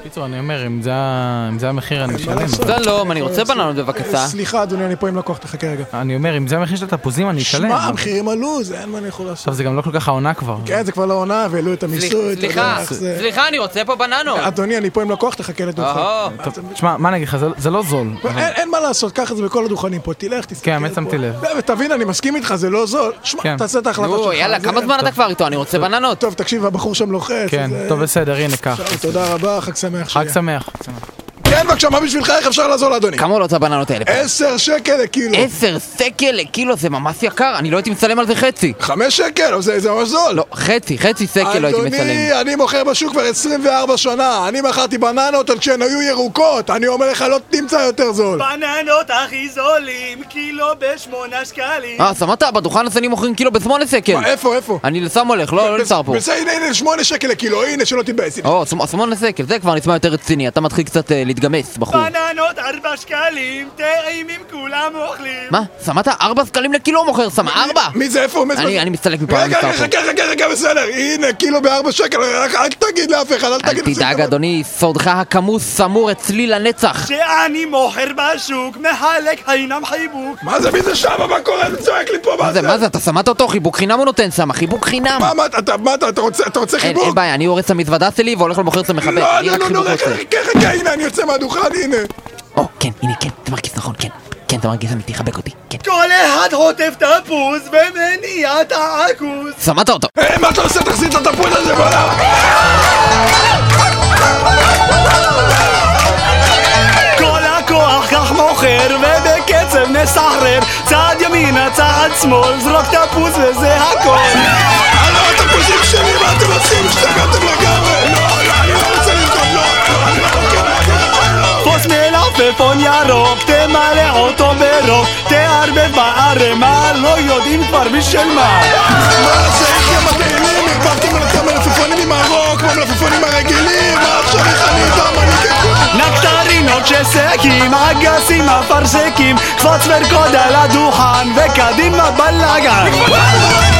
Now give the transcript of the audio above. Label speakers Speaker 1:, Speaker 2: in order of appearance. Speaker 1: בקיצור, אני אומר, אם זה ה- אם זה המחיר, אני
Speaker 2: כן, מה
Speaker 1: אשלם.
Speaker 2: לעשות?
Speaker 3: שלום, אני רוצה
Speaker 2: אה,
Speaker 3: בננות
Speaker 2: סליח-
Speaker 3: בבקשה.
Speaker 2: סליחה, אדוני, אני פה עם לקוח, תחכה רגע.
Speaker 1: אני אומר, אם זה המחיר של התפוזים, אני אשלם.
Speaker 2: שמע, המחירים עלו, זה אין מה אני יכול לעשות.
Speaker 1: עכשיו, זה גם לא כל כך העונה כבר.
Speaker 2: כן, זה כבר לא עונה, והעלו את אה, המיסוי. אתה
Speaker 3: סליחה,
Speaker 2: יודע איך זה.
Speaker 3: סליחה, אני רוצה פה בננות.
Speaker 2: אדוני, אני פה עם לקוח, תחכה לדוכן.
Speaker 3: אהו,
Speaker 1: טוב, תשמע, מה אני אגיד לך, זה- זה לא זול.
Speaker 2: אין, אין מה לעשות, קח את זה בכל הדוכנים פה, תלך, תסתכל
Speaker 1: כן, האמת,
Speaker 2: פה.
Speaker 1: שמתי לב.
Speaker 2: לא, ותבין, אני מסכים איתך, זה לא זול. שמע,
Speaker 1: כן.
Speaker 2: תעשה את ההחלטה
Speaker 3: נו,
Speaker 2: שלך.
Speaker 3: יאללה,
Speaker 2: זה-
Speaker 3: כמה זמן אתה כבר איתו? אני רוצה בננות.
Speaker 2: טוב, תקשיב, הבחור שם לוחץ.
Speaker 1: כן,
Speaker 2: זה-
Speaker 1: טוב, בסדר, הנה, קח.
Speaker 2: שאול, תודה רבה, חג שמח
Speaker 1: חג
Speaker 2: שיהיה.
Speaker 1: שמח. חג שמח.
Speaker 2: כן, בבקשה, מה בשבילך, איך אפשר לעזור לאדוני?
Speaker 3: כמה עולות הבננות האלה? פה?
Speaker 2: עשר שקל לקילו.
Speaker 3: עשר שקל לקילו זה ממש יקר, אני לא הייתי מצלם על זה חצי.
Speaker 2: חמש שקל, זה זה ממש זול.
Speaker 3: לא, חצי, חצי שקל לא הייתי מצלם.
Speaker 2: אדוני, אני מוכר בשוק כבר 24 שנה. אני מכרתי בננות עוד כשהן היו ירוקות. אני אומר לך, לא תמצא יותר זול.
Speaker 4: בננות הכי זולים, קילו בשמונה שקלים.
Speaker 3: אה, שמעת? בדוכן הזה אני מוכרים קילו בשמונה שקל.
Speaker 2: מה, איפה, איפה?
Speaker 3: כן. אני לסם הולך, לא לא נשאר פה.
Speaker 2: בסדר, הנה, הנה, שמונה שקל לקילו, הנה, שלא תתבאס.
Speaker 3: או, שמ- שמונה שקל, זה כבר נשמע יותר רציני, אתה מתחיל קצת אה, להתגמס, בחור.
Speaker 4: בננות ארבע שקלים, טעימים כולם אוכלים.
Speaker 3: מה? שמעת? ארבע שקלים לקילו מוכר, שמה ארבע?
Speaker 2: מי זה, איפה? מי זה?
Speaker 3: אני- אני מסתלק מפה, אני
Speaker 2: רגע, רגע,
Speaker 3: מסתלק
Speaker 2: חכה, חכה, חכה, בסדר. הנה, קילו בארבע שקל, רק- אל תגיד לאף אחד, אל
Speaker 3: אל
Speaker 2: תגיד...
Speaker 3: תדאג, אדוני, סודך הכמוס שמור אצלי לנצח.
Speaker 4: שאני מוכר בשוק, מחלק חינם חיבוק.
Speaker 2: מה זה, מי זה שם? מה קורה? זה צועק לי פה,
Speaker 3: מה זה, מה זה, אתה שמעת אותו? חיבוק חינם הוא נותן שם, חיבוק חינם.
Speaker 2: מה, מה, אתה, מה, אתה, אתה רוצה, אתה רוצה
Speaker 3: אין
Speaker 2: חיבוק?
Speaker 3: אין בעיה, אני הורס את המזוודה שלי והולך למוכר את המחבק,
Speaker 2: לא,
Speaker 3: אני
Speaker 2: לא,
Speaker 3: רק
Speaker 2: לא, לא,
Speaker 3: חיבוק
Speaker 2: רגע,
Speaker 3: רוצה.
Speaker 2: חכה, חכה, הנה, אני יוצא מהדוכן, הנה.
Speaker 3: או, כן, הנה, כן, אתה מרגיש נכון, כן. כן, אתה מרגיש אמיתי, חבק אותי, כן.
Speaker 4: כל אחד חוטף תפוז ומניע את העכוז.
Speaker 3: שמעת אותו?
Speaker 2: היי, אה, מה אתה עושה? תחזיר את התפוז הזה, בוא'נה.
Speaker 4: כל הכוח כך מוכר ובקצב נסחרר. צעד ימינה, צעד שמאל, זרוק תפוז וזה הכל.
Speaker 2: הלו, התפוזים שלי, מה אתם עושים? השתגעתם לגמרי. לא, לא, אני לא רוצה לרקוד, לא, לא, אני לא, כן, לא, לא.
Speaker 4: תפוס מלפפון ירוק, תמלא אותו ברוק, תערבב בערימה, לא יודעים כבר בשל מה.
Speaker 2: לא. מה זה, איך הם מגעילים? הרכבתם על אותם מלפפונים עם הרוק, כמו המלפפונים הרגילים, מה עכשיו איך אני איתם? אני כן ככה...
Speaker 4: נקטרינות שסקים, אגסים אפרסקים, קפוץ ורקוד על הדוכן, וקדימה בלאגן.